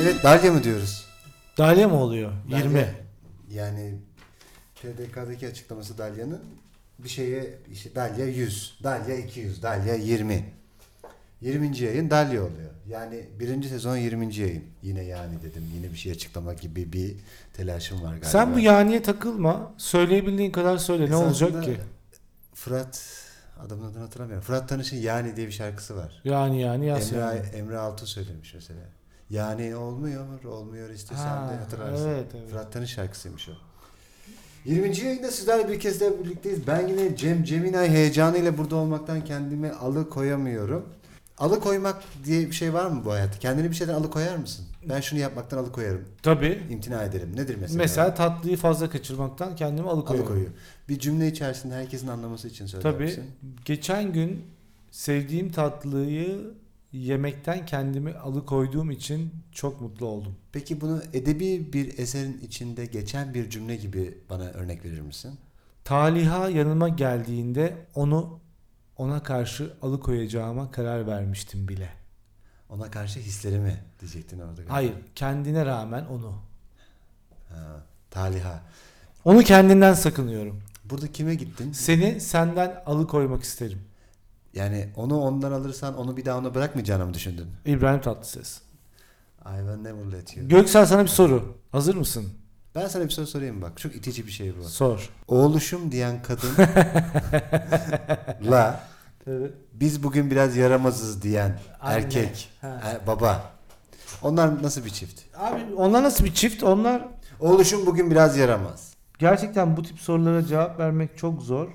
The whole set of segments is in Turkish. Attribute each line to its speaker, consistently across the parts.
Speaker 1: Evet dalya mı diyoruz?
Speaker 2: Dalya mı oluyor?
Speaker 1: Dalya.
Speaker 2: 20.
Speaker 1: Yani TDK'daki açıklaması dalyanın bir şeye işte dalya 100, dalya 200, dalya 20. 20. yayın dalya oluyor. Yani birinci sezon 20. yayın. Yine yani dedim. Yine bir şey açıklama gibi bir telaşım var galiba.
Speaker 2: Sen bu yaniye takılma. Söyleyebildiğin kadar söyle. Ne olacak
Speaker 1: Esasında
Speaker 2: ki?
Speaker 1: Fırat adamın adını hatırlamıyorum. Fırat Tanış'ın Yani diye bir şarkısı var.
Speaker 2: Yani yani yaz. yani.
Speaker 1: Emre, Emre Altun söylemiş mesela. Yani olmuyor, olmuyor istesem
Speaker 2: Ha,
Speaker 1: de hatırlarsın.
Speaker 2: evet, evet.
Speaker 1: Fırat Tanış şarkısıymış o. 20. yayında sizlerle bir kez daha birlikteyiz. Ben yine Cem Ceminay heyecanıyla burada olmaktan kendimi alıkoyamıyorum. Alıkoymak diye bir şey var mı bu hayatta? Kendini bir şeyden alıkoyar mısın? Ben şunu yapmaktan alıkoyarım.
Speaker 2: Tabii.
Speaker 1: İmtina ederim. Nedir mesela?
Speaker 2: Mesela tatlıyı fazla kaçırmaktan kendimi alıkoyuyorum.
Speaker 1: alıkoyuyor. Bir cümle içerisinde herkesin anlaması için söyler
Speaker 2: Tabii.
Speaker 1: misin?
Speaker 2: Geçen gün sevdiğim tatlıyı yemekten kendimi alıkoyduğum için çok mutlu oldum.
Speaker 1: Peki bunu edebi bir eserin içinde geçen bir cümle gibi bana örnek verir misin?
Speaker 2: Taliha yanıma geldiğinde onu ona karşı alıkoyacağıma karar vermiştim bile.
Speaker 1: Ona karşı hislerimi diyecektin orada.
Speaker 2: Hayır, kendine rağmen onu.
Speaker 1: Ha, taliha.
Speaker 2: Onu kendinden sakınıyorum.
Speaker 1: Burada kime gittin?
Speaker 2: Seni senden alıkoymak isterim.
Speaker 1: Yani onu ondan alırsan onu bir daha ona bırakmayacağını mı düşündün?
Speaker 2: İbrahim Tatlıses.
Speaker 1: I will never let you.
Speaker 2: Göksel sana bir soru. Hazır mısın?
Speaker 1: Ben sana bir soru sorayım bak. Çok itici bir şey bu.
Speaker 2: Sor.
Speaker 1: Oğluşum diyen kadın la
Speaker 2: Evet.
Speaker 1: biz bugün biraz yaramazız diyen erkek
Speaker 2: Ha.
Speaker 1: e, baba. Onlar nasıl bir çift?
Speaker 2: Abi onlar nasıl bir çift? Onlar
Speaker 1: Oğluşum bugün biraz yaramaz.
Speaker 2: Gerçekten bu tip sorulara cevap vermek çok zor.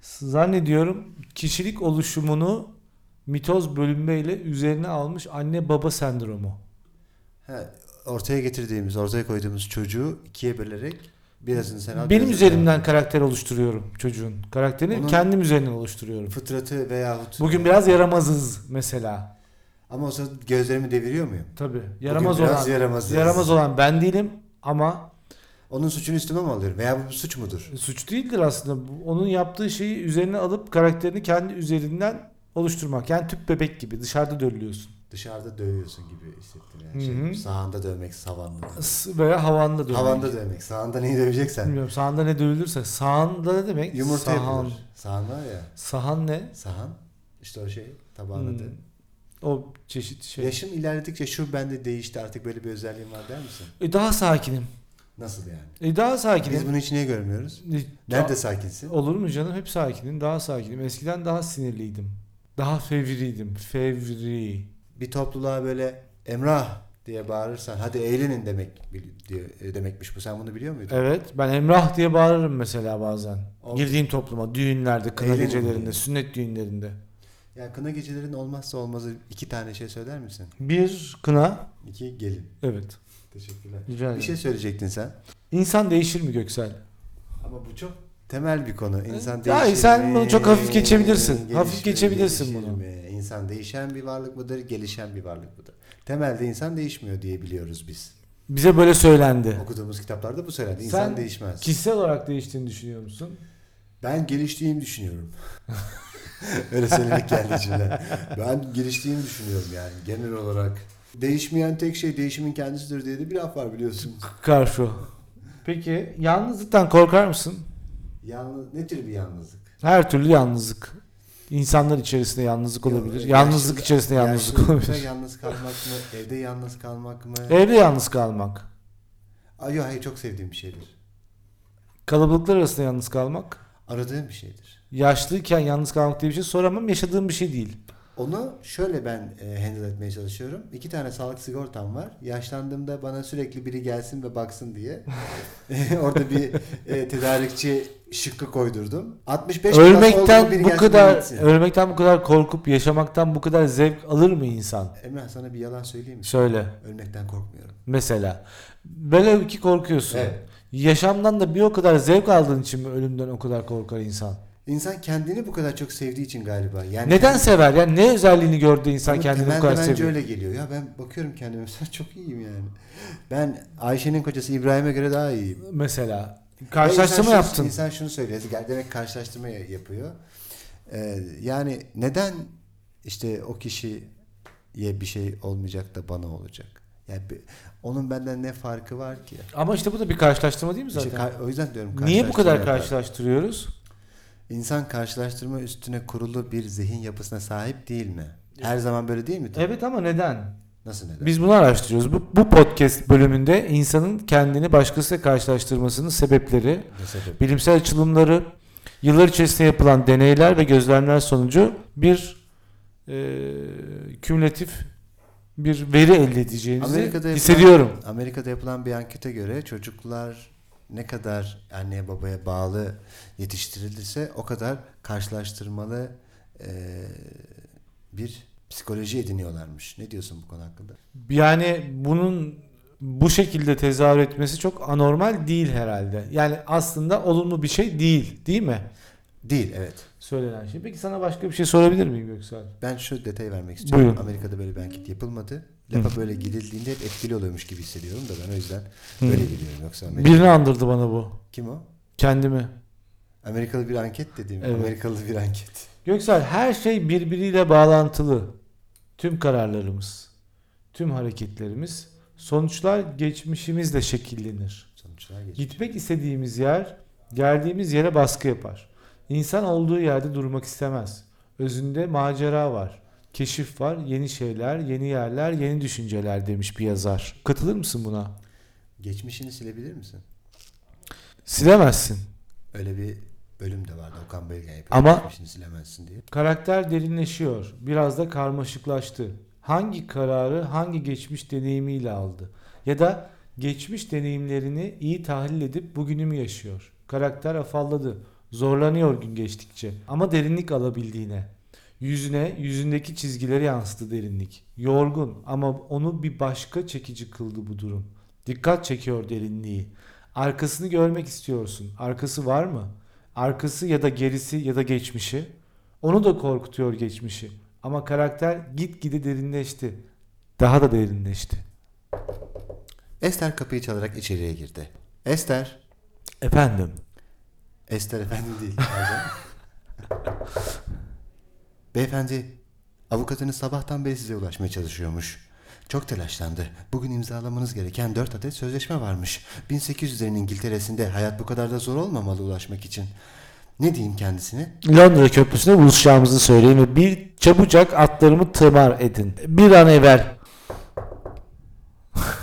Speaker 2: Zannediyorum kişilik oluşumunu mitoz bölünmeyle üzerine almış anne baba sendromu.
Speaker 1: He, ortaya getirdiğimiz, ortaya koyduğumuz çocuğu ikiye bölerek birazını sen al.
Speaker 2: Benim
Speaker 1: birazını
Speaker 2: üzerimden
Speaker 1: sen al.
Speaker 2: karakter oluşturuyorum çocuğun. Karakterini
Speaker 1: Onun-
Speaker 2: kendim üzerinden oluşturuyorum.
Speaker 1: Fıtratı veyahut.
Speaker 2: Bugün biraz yaramazız mesela.
Speaker 1: Ama o sırada gözlerimi deviriyor muyum?
Speaker 2: Tabii. Yaramaz
Speaker 1: biraz
Speaker 2: olan
Speaker 1: yaramazız.
Speaker 2: yaramaz olan ben değilim ama
Speaker 1: Onun suçunu üstüme mi alıyorum? Veya bu bir suç mudur?
Speaker 2: suç değildir aslında. Bu- Onun yaptığı şeyi üzerine alıp karakterini kendi üzerinden oluşturmak. Yani tüp bebek gibi dışarıda dövülüyorsun.
Speaker 1: Dışarıda dövüyorsun gibi hissettim. Yani.
Speaker 2: Hı
Speaker 1: Şey,
Speaker 2: hı.
Speaker 1: sahanda dövmek, savanda.
Speaker 2: Is- veya havanda dövülüyor.
Speaker 1: Havanda dövmek. Sahanda neyi döveceksen.
Speaker 2: Bilmiyorum sahanda ne dövülürse. Sahanda ne demek?
Speaker 1: Yumurta
Speaker 2: Sahan.
Speaker 1: yapılır. Sahan var ya.
Speaker 2: Sahan ne?
Speaker 1: Sahan. İşte o şey. Tabağın
Speaker 2: Hmm,
Speaker 1: adı.
Speaker 2: O çeşit şey.
Speaker 1: Yaşım ilerledikçe şu bende değişti artık böyle bir özelliğim var der misin?
Speaker 2: E, daha sakinim.
Speaker 1: Nasıl yani?
Speaker 2: E, daha
Speaker 1: Biz
Speaker 2: sakinim.
Speaker 1: bunu hiç niye görmüyoruz?
Speaker 2: E,
Speaker 1: Nerede
Speaker 2: daha-
Speaker 1: sakinsin?
Speaker 2: Olur mu canım? Hep sakinim. Daha sakinim. Eskiden daha sinirliydim. Daha fevriydim. Fevri.
Speaker 1: bir topluluğa böyle Emrah diye bağırırsan hadi eğlenin demek bil- diye, e, demekmiş bu. Sen bunu biliyor muydun?
Speaker 2: Evet. Ben Emrah diye bağırırım mesela bazen.
Speaker 1: Oldu.
Speaker 2: Girdiğim topluma. Düğünlerde, kına
Speaker 1: Eğlenin
Speaker 2: gecelerinde,
Speaker 1: diye.
Speaker 2: sünnet düğünlerinde.
Speaker 1: Ya kına gecelerin olmazsa olmazı iki tane şey söyler misin?
Speaker 2: Bir kına.
Speaker 1: İki gelin.
Speaker 2: Evet.
Speaker 1: Teşekkürler.
Speaker 2: Rica ederim.
Speaker 1: Bir şey söyleyecektin sen.
Speaker 2: İnsan değişir mi Göksel?
Speaker 1: Ama bu çok temel bir konu. İnsan
Speaker 2: Ya
Speaker 1: değişir
Speaker 2: sen
Speaker 1: mi?
Speaker 2: bunu çok hafif geçebilirsin.
Speaker 1: Gelişir
Speaker 2: Hafif
Speaker 1: mi,
Speaker 2: geçebilirsin
Speaker 1: gelişir
Speaker 2: bunu.
Speaker 1: mi? İnsan değişen bir varlık mıdır, gelişen bir varlık mıdır? Temelde insan değişmiyor diye biliyoruz biz.
Speaker 2: Bize böyle söylendi.
Speaker 1: Okuduğumuz kitaplarda bu söylendi. İnsan
Speaker 2: Sen
Speaker 1: değişmez.
Speaker 2: Kişisel olarak değiştiğini düşünüyor musun?
Speaker 1: Ben geliştiğimi düşünüyorum. Öyle söylemek geldi içimden. Ben geliştiğimi düşünüyorum yani genel olarak. Değişmeyen tek şey değişimin kendisidir diye de bir laf var biliyorsun.
Speaker 2: Karşı. Peki yalnızlıktan korkar mısın?
Speaker 1: Yalnız, ne tür bir yalnızlık?
Speaker 2: Her türlü yalnızlık. İnsanlar içerisinde yalnızlık olabilir. yalnızlık
Speaker 1: Yaşlılık-
Speaker 2: içerisinde yalnızlık
Speaker 1: yaşlılıkta
Speaker 2: olabilir. E-
Speaker 1: yalnız kalmak mı? Evde yalnız kalmak mı?
Speaker 2: Evde yalnız kalmak.
Speaker 1: Ay, yok, hayır çok sevdiğim bir şeydir.
Speaker 2: Kalabalıklar arasında yalnız kalmak.
Speaker 1: Aradığım bir şeydir.
Speaker 2: Yaşlıyken yalnız kalmak diye bir şey soramam. Yaşadığım bir şey değil.
Speaker 1: Onu şöyle ben e, handle etmeye çalışıyorum. İki tane sağlık sigortam var. Yaşlandığımda bana sürekli biri gelsin ve baksın diye. Orada bir e, tedarikçi şıkkı koydurdum. 65 plus oldu,
Speaker 2: ölmekten bu
Speaker 1: gelsin
Speaker 2: kadar
Speaker 1: denetsin.
Speaker 2: ölmekten bu kadar korkup yaşamaktan bu kadar zevk alır mı insan?
Speaker 1: Emrah sana bir yalan söyleyeyim mi?
Speaker 2: Söyle.
Speaker 1: Ölmekten korkmuyorum.
Speaker 2: Mesela. Böyle ki korkuyorsun.
Speaker 1: Evet.
Speaker 2: Yaşamdan da bir o kadar zevk aldığın için mi ölümden o kadar korkar insan?
Speaker 1: İnsan kendini bu kadar çok sevdiği için galiba. Yani
Speaker 2: Neden sever? Yani ne özelliğini gördü insan
Speaker 1: Ama
Speaker 2: kendini bu
Speaker 1: temelde
Speaker 2: kadar
Speaker 1: bence
Speaker 2: seviyor?
Speaker 1: öyle geliyor. Ya ben bakıyorum kendime mesela çok iyiyim yani. Ben Ayşe'nin kocası İbrahim'e göre daha iyiyim.
Speaker 2: Mesela.
Speaker 1: Ve
Speaker 2: Karşılaştırma
Speaker 1: insan şey-
Speaker 2: yaptın.
Speaker 1: Şunu, insan şunu söylüyor. yani Demek karşılaştırma ya- yapıyor. Ee, yani neden işte o kişiye bir şey olmayacak da bana olacak? Yani bir- onun benden ne farkı var ki?
Speaker 2: Ama işte bu da bir karşılaştırma değil mi
Speaker 1: İşte
Speaker 2: zaten?
Speaker 1: ka- o yüzden diyorum
Speaker 2: Niye bu kadar
Speaker 1: karşılaştırma yapar.
Speaker 2: karşılaştırıyoruz?
Speaker 1: İnsan karşılaştırma üstüne kurulu bir zihin yapısına sahip değil mi? Her zaman böyle değil mi?
Speaker 2: Evet ama neden?
Speaker 1: Nasıl neden?
Speaker 2: Biz bunu araştırıyoruz. Bu, bu podcast bölümünde insanın kendini başkasıyla karşılaştırmasının sebepleri,
Speaker 1: Ne sebep?
Speaker 2: bilimsel açılımları, yıllar içerisinde yapılan deneyler ve gözlemler sonucu bir e, kümülatif bir veri elde edeceğimizi
Speaker 1: Amerika'da yapılan-
Speaker 2: hissediyorum.
Speaker 1: Amerika'da yapılan bir ankete göre çocuklar ne kadar anneye babaya bağlı yetiştirilirse o kadar karşılaştırmalı eee, bir psikoloji ediniyorlarmış. Ne diyorsun bu konu hakkında?
Speaker 2: Yani bunun bu şekilde tezahür etmesi çok anormal değil herhalde. Yani aslında olumlu bir şey değil, değil mi?
Speaker 1: Değil evet.
Speaker 2: Söylenen şey. Peki sana başka bir şey sorabilir miyim Göksel?
Speaker 1: Ben şu detayı vermek istiyorum.
Speaker 2: Buyurun.
Speaker 1: Amerika'da böyle bir anket yapılmadı. Lafa böyle gidildiğinde hep etkili oluyormuş gibi hissediyorum da ben o yüzden böyle biliyorum. Yoksa Amerika...
Speaker 2: Birini andırdı bana bu.
Speaker 1: Kim o?
Speaker 2: Kendimi.
Speaker 1: Amerikalı bir anket dediğim.
Speaker 2: Evet.
Speaker 1: Amerikalı bir anket.
Speaker 2: Göksel her şey birbiriyle bağlantılı. Tüm kararlarımız, tüm hareketlerimiz, sonuçlar geçmişimizle şekillenir.
Speaker 1: Sonuçlar geçiyor.
Speaker 2: Gitmek istediğimiz yer, geldiğimiz yere baskı yapar. İnsan olduğu yerde durmak istemez. Özünde macera var, keşif var, yeni şeyler, yeni yerler, yeni düşünceler demiş bir yazar. Katılır mısın buna?
Speaker 1: Geçmişini silebilir misin?
Speaker 2: Silemezsin.
Speaker 1: Öyle bir bölüm de vardı Okan Bölgen yapıyor.
Speaker 2: Ama-
Speaker 1: Geçmişini silemezsin diye.
Speaker 2: Karakter derinleşiyor. Biraz da karmaşıklaştı. Hangi kararı hangi geçmiş deneyimiyle aldı? Ya da geçmiş deneyimlerini iyi tahlil edip bugünü mü yaşıyor? Karakter afalladı. Zorlanıyor gün geçtikçe. Ama derinlik alabildiğine. Yüzüne, yüzündeki çizgileri yansıdı derinlik. Yorgun ama onu bir başka çekici kıldı bu durum. Dikkat çekiyor derinliği. Arkasını görmek istiyorsun. Arkası var mı? Arkası ya da gerisi ya da geçmişi. Onu da korkutuyor geçmişi. Ama karakter gitgide derinleşti. Daha da derinleşti.
Speaker 1: Ester kapıyı çalarak içeriye girdi. Ester.
Speaker 2: Efendim.
Speaker 1: Ester efendi değil. pardon. Beyefendi, avukatınız sabahtan beri size ulaşmaya çalışıyormuş. Çok telaşlandı. Bugün imzalamanız gereken 4 adet sözleşme varmış. 1800'lerin İngiltere'sinde hayat bu kadar da zor olmamalı ulaşmak için. Ne diyeyim kendisine?
Speaker 2: Londra Köprüsü'ne buluşacağımızı söyleyin ve bir çabucak atlarımı tımar edin. Bir an evvel.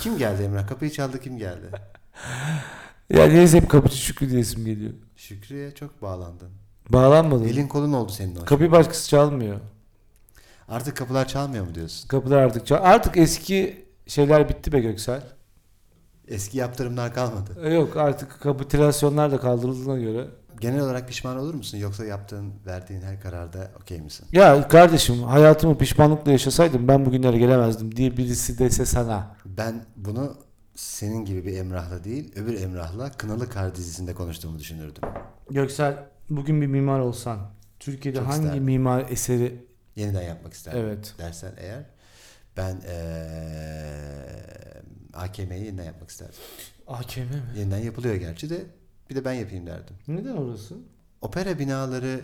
Speaker 1: Kim geldi Emrah? Kapıyı çaldı kim geldi?
Speaker 2: Ya neyse hep kapıcı Şükrü diyesim geliyor.
Speaker 1: Şükrü'ye çok bağlandın.
Speaker 2: Bağlanmadı. mı?
Speaker 1: Elin kolun oldu senin o.
Speaker 2: Kapıyı başkası çalmıyor.
Speaker 1: Artık kapılar çalmıyor mu diyorsun?
Speaker 2: Kapılar artık çal. Artık eski şeyler bitti be Göksel.
Speaker 1: Eski yaptırımlar kalmadı.
Speaker 2: E, Yok artık kapitülasyonlar da kaldırıldığına göre.
Speaker 1: Genel olarak pişman olur musun? Yoksa yaptığın, verdiğin her kararda okey misin?
Speaker 2: Ya kardeşim hayatımı pişmanlıkla yaşasaydım ben bugünlere gelemezdim diye birisi dese sana.
Speaker 1: Ben bunu senin gibi bir Emrah'la değil, öbür Emrah'la Kınalı Kar dizisinde konuştuğumu düşünürdüm.
Speaker 2: Göksel bugün bir mimar olsan Türkiye'de
Speaker 1: Çok
Speaker 2: hangi
Speaker 1: isterdim.
Speaker 2: mimar eseri
Speaker 1: Yeniden yapmak isterdim
Speaker 2: evet
Speaker 1: dersen eğer ben eee AKM'yi yeniden yapmak isterdim.
Speaker 2: AKM mi?
Speaker 1: Yeniden yapılıyor gerçi de bir de ben yapayım derdim.
Speaker 2: Neden orası?
Speaker 1: Opera binaları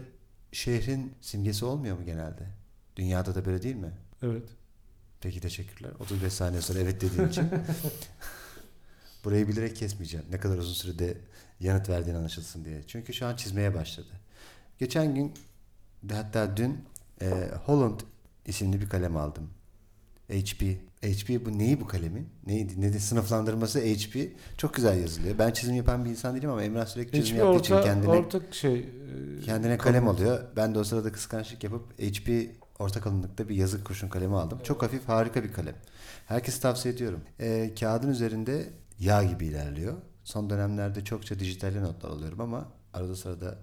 Speaker 1: şehrin simgesi olmuyor mu genelde? Dünyada da böyle değil mi?
Speaker 2: Evet.
Speaker 1: Peki teşekkürler. 35 saniye sonra evet dediğin için. Burayı bilerek kesmeyeceğim. Ne kadar uzun sürede yanıt verdiğin anlaşılsın diye. Çünkü şu an çizmeye başladı. Geçen gün hatta dün e, Holland isimli bir kalem aldım. HP. HP bu neyi bu kalemin? Neydi? Nedir? Sınıflandırması HP. Çok güzel yazılıyor. Ben çizim yapan bir insan değilim ama Emrah sürekli çizim
Speaker 2: Hiçbir
Speaker 1: yaptığı için
Speaker 2: orta,
Speaker 1: kendine
Speaker 2: ortak şey. e,
Speaker 1: Kendine kalem alıyor. Ben de o sırada kıskançlık yapıp HP orta kalınlıkta bir yazı kurşun kalemi aldım. Çok hafif harika bir kalem. Herkese tavsiye ediyorum. Ee, kağıdın üzerinde yağ gibi ilerliyor. Son dönemlerde çokça dijitalli notlar alıyorum ama arada sırada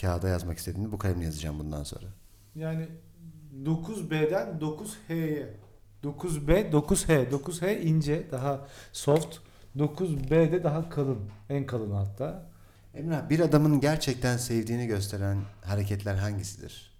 Speaker 1: kağıda yazmak istediğimde bu kalemle yazacağım bundan sonra.
Speaker 2: Yani 9B'den 9H'ye. 9B, 9H. 9H ince, daha soft. 9B de daha kalın. En kalın hatta.
Speaker 1: Emrah bir adamın gerçekten sevdiğini gösteren hareketler hangisidir?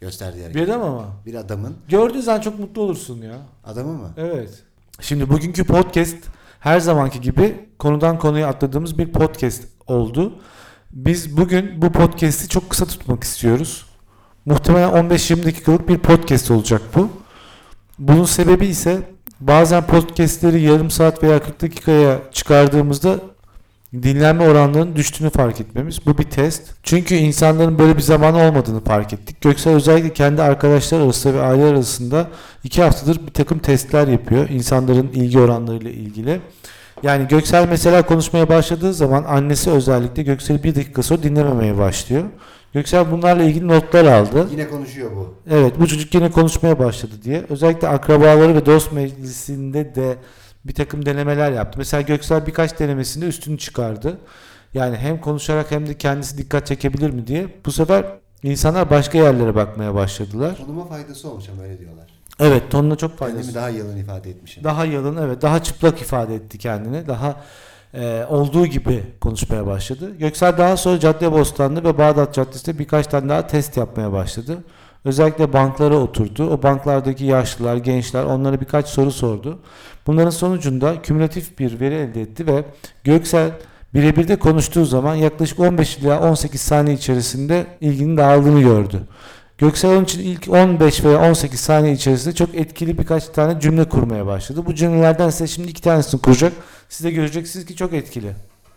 Speaker 1: Gösterdiği
Speaker 2: Bir
Speaker 1: hareketler.
Speaker 2: adam ama.
Speaker 1: Bir adamın
Speaker 2: Gördüğün zaman çok mutlu olursun ya.
Speaker 1: adamı mı?
Speaker 2: Evet. Şimdi bugünkü podcast her zamanki gibi konudan konuya atladığımız bir podcast oldu. Biz bugün bu podcast'i çok kısa tutmak istiyoruz. Muhtemelen 15-20 dakikalık bir podcast olacak bu. Bunun sebebi ise Bazen podcastleri yarım saat veya 40 dakikaya çıkardığımızda dinlenme oranlarının düştüğünü fark etmemiz. Bu bir test. Çünkü insanların böyle bir zamanı olmadığını fark ettik. Göksel özellikle kendi arkadaşlar arasında ve aile arasında iki haftadır bir takım testler yapıyor. insanların ilgi oranlarıyla ilgili. Yani Göksel mesela konuşmaya başladığı zaman annesi özellikle Göksel'i bir dakika sonra dinlememeye başlıyor. Göksel bunlarla ilgili notlar aldı.
Speaker 1: Yine konuşuyor bu.
Speaker 2: Evet bu çocuk yine konuşmaya başladı diye. Özellikle akrabaları ve dost meclisinde de bir takım denemeler yaptı. Mesela Göksel birkaç denemesinde üstünü çıkardı. Yani hem konuşarak hem de kendisi dikkat çekebilir mi diye. Bu sefer insanlar başka yerlere bakmaya başladılar.
Speaker 1: Tonuma faydası olmuş ama öyle diyorlar.
Speaker 2: Evet tonuna çok faydası.
Speaker 1: Kendimi daha yalın ifade etmişim.
Speaker 2: Daha yalın evet daha çıplak ifade etti kendini. Daha e, olduğu gibi konuşmaya başladı. Göksel daha sonra Caddebostan'da ve Bağdat Caddesi'nde birkaç tane daha test yapmaya başladı. Özellikle banklara oturdu. O banklardaki yaşlılar, gençler onlara birkaç soru sordu. Bunların sonucunda kümülatif bir veri elde etti ve Göksel birebir de konuştuğu zaman yaklaşık 15 ila 18 saniye içerisinde ilginin dağıldığını gördü. Göksel onun için ilk 15 veya 18 saniye içerisinde çok etkili birkaç tane cümle kurmaya başladı. Bu cümlelerden size şimdi iki tanesini kuracak. Siz de göreceksiniz ki çok etkili.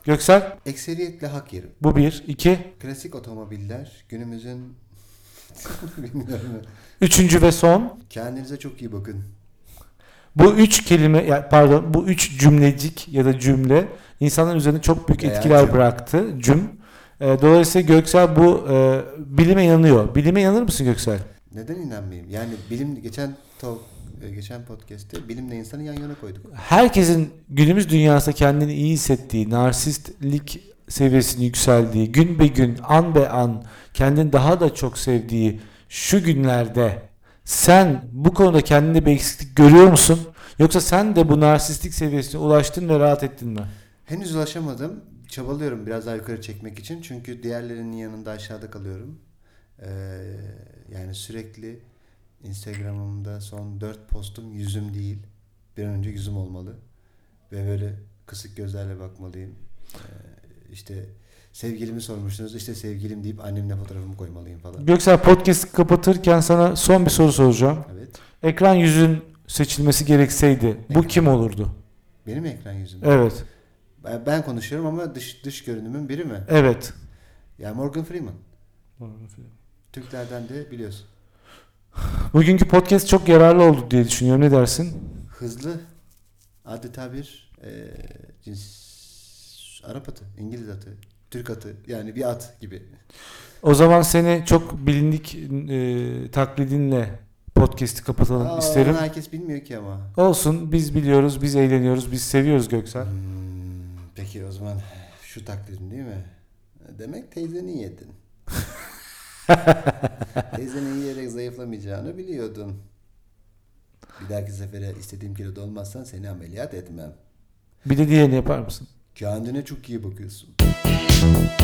Speaker 2: Göksel
Speaker 1: Ekseriyetle hak yerim.
Speaker 2: bu bir. iki.
Speaker 1: Klasik otomobiller günümüzün bilmiyorum.
Speaker 2: Üçüncü ve son.
Speaker 1: Kendinize çok iyi bakın.
Speaker 2: Bu üç kelime ya pardon bu üç cümlecik ya da cümle insanların üzerine çok büyük
Speaker 1: Veya
Speaker 2: etkiler
Speaker 1: cüm.
Speaker 2: bıraktı. Cüm. E, dolayısıyla Göksel bu e, bilime yanıyor. Bilime yanır mısın Göksel?
Speaker 1: Neden inanmayayım? Yani bilim geçen talk, e, geçen podcast'te bilimle insanı yan yana koyduk.
Speaker 2: herkesin günümüz dünyasında kendini iyi hissettiği, narsistlik seviyesinin yükseldiği, gün be gün, an be an kendini daha da çok sevdiği şu günlerde sen bu konuda kendinde bir eksiklik görüyor musun? Yoksa sen de bu narsistlik seviyesine ulaştın ve rahat ettin mi?
Speaker 1: Henüz ulaşamadım. Çabalıyorum biraz daha yukarı çekmek için. Çünkü diğerlerinin yanında aşağıda kalıyorum. Ee, yani sürekli Instagram'ımda son 4 postum yüzüm değil. Bir an önce yüzüm olmalı. Ve böyle kısık gözlerle bakmalıyım. Ee, işte sevgilimi sormuştunuz. İşte sevgilim deyip annemle fotoğrafımı koymalıyım falan.
Speaker 2: Göksel podcast'i kapatırken sana son bir soru soracağım.
Speaker 1: Evet.
Speaker 2: Ekran yüzün seçilmesi gerekseydi bu
Speaker 1: Ekran.
Speaker 2: kim olurdu?
Speaker 1: Benim ekran yüzüm.
Speaker 2: Evet.
Speaker 1: Ben- Ben konuşuyorum ama dış dış görünümün biri mi?
Speaker 2: Evet.
Speaker 1: Yani Morgan Freeman. Türklerden de biliyorsun.
Speaker 2: Bugünkü podcast çok yararlı oldu diye düşünüyorum. Ne dersin?
Speaker 1: hızlı adeta bir e, cins Arap atı, İngiliz atı, Türk atı yani bir at gibi.
Speaker 2: O zaman seni çok bilindik e, taklidinle podcast'i kapatalım
Speaker 1: Aa,
Speaker 2: isterim.
Speaker 1: onu herkes bilmiyor ki ama.
Speaker 2: Olsun biz biliyoruz, biz eğleniyoruz, biz seviyoruz Göksel.
Speaker 1: Hmm, peki o zaman şu taklidin değil mi? Demek teyzeni yedin. teyzeni yiyerek zayıflamayacağını biliyordun. Bir dahaki sefere istediğim kiloda olmazsan seni ameliyat etmem.
Speaker 2: Bir de diğerini yapar mısın?
Speaker 1: Kendine çok iyi bakıyorsun.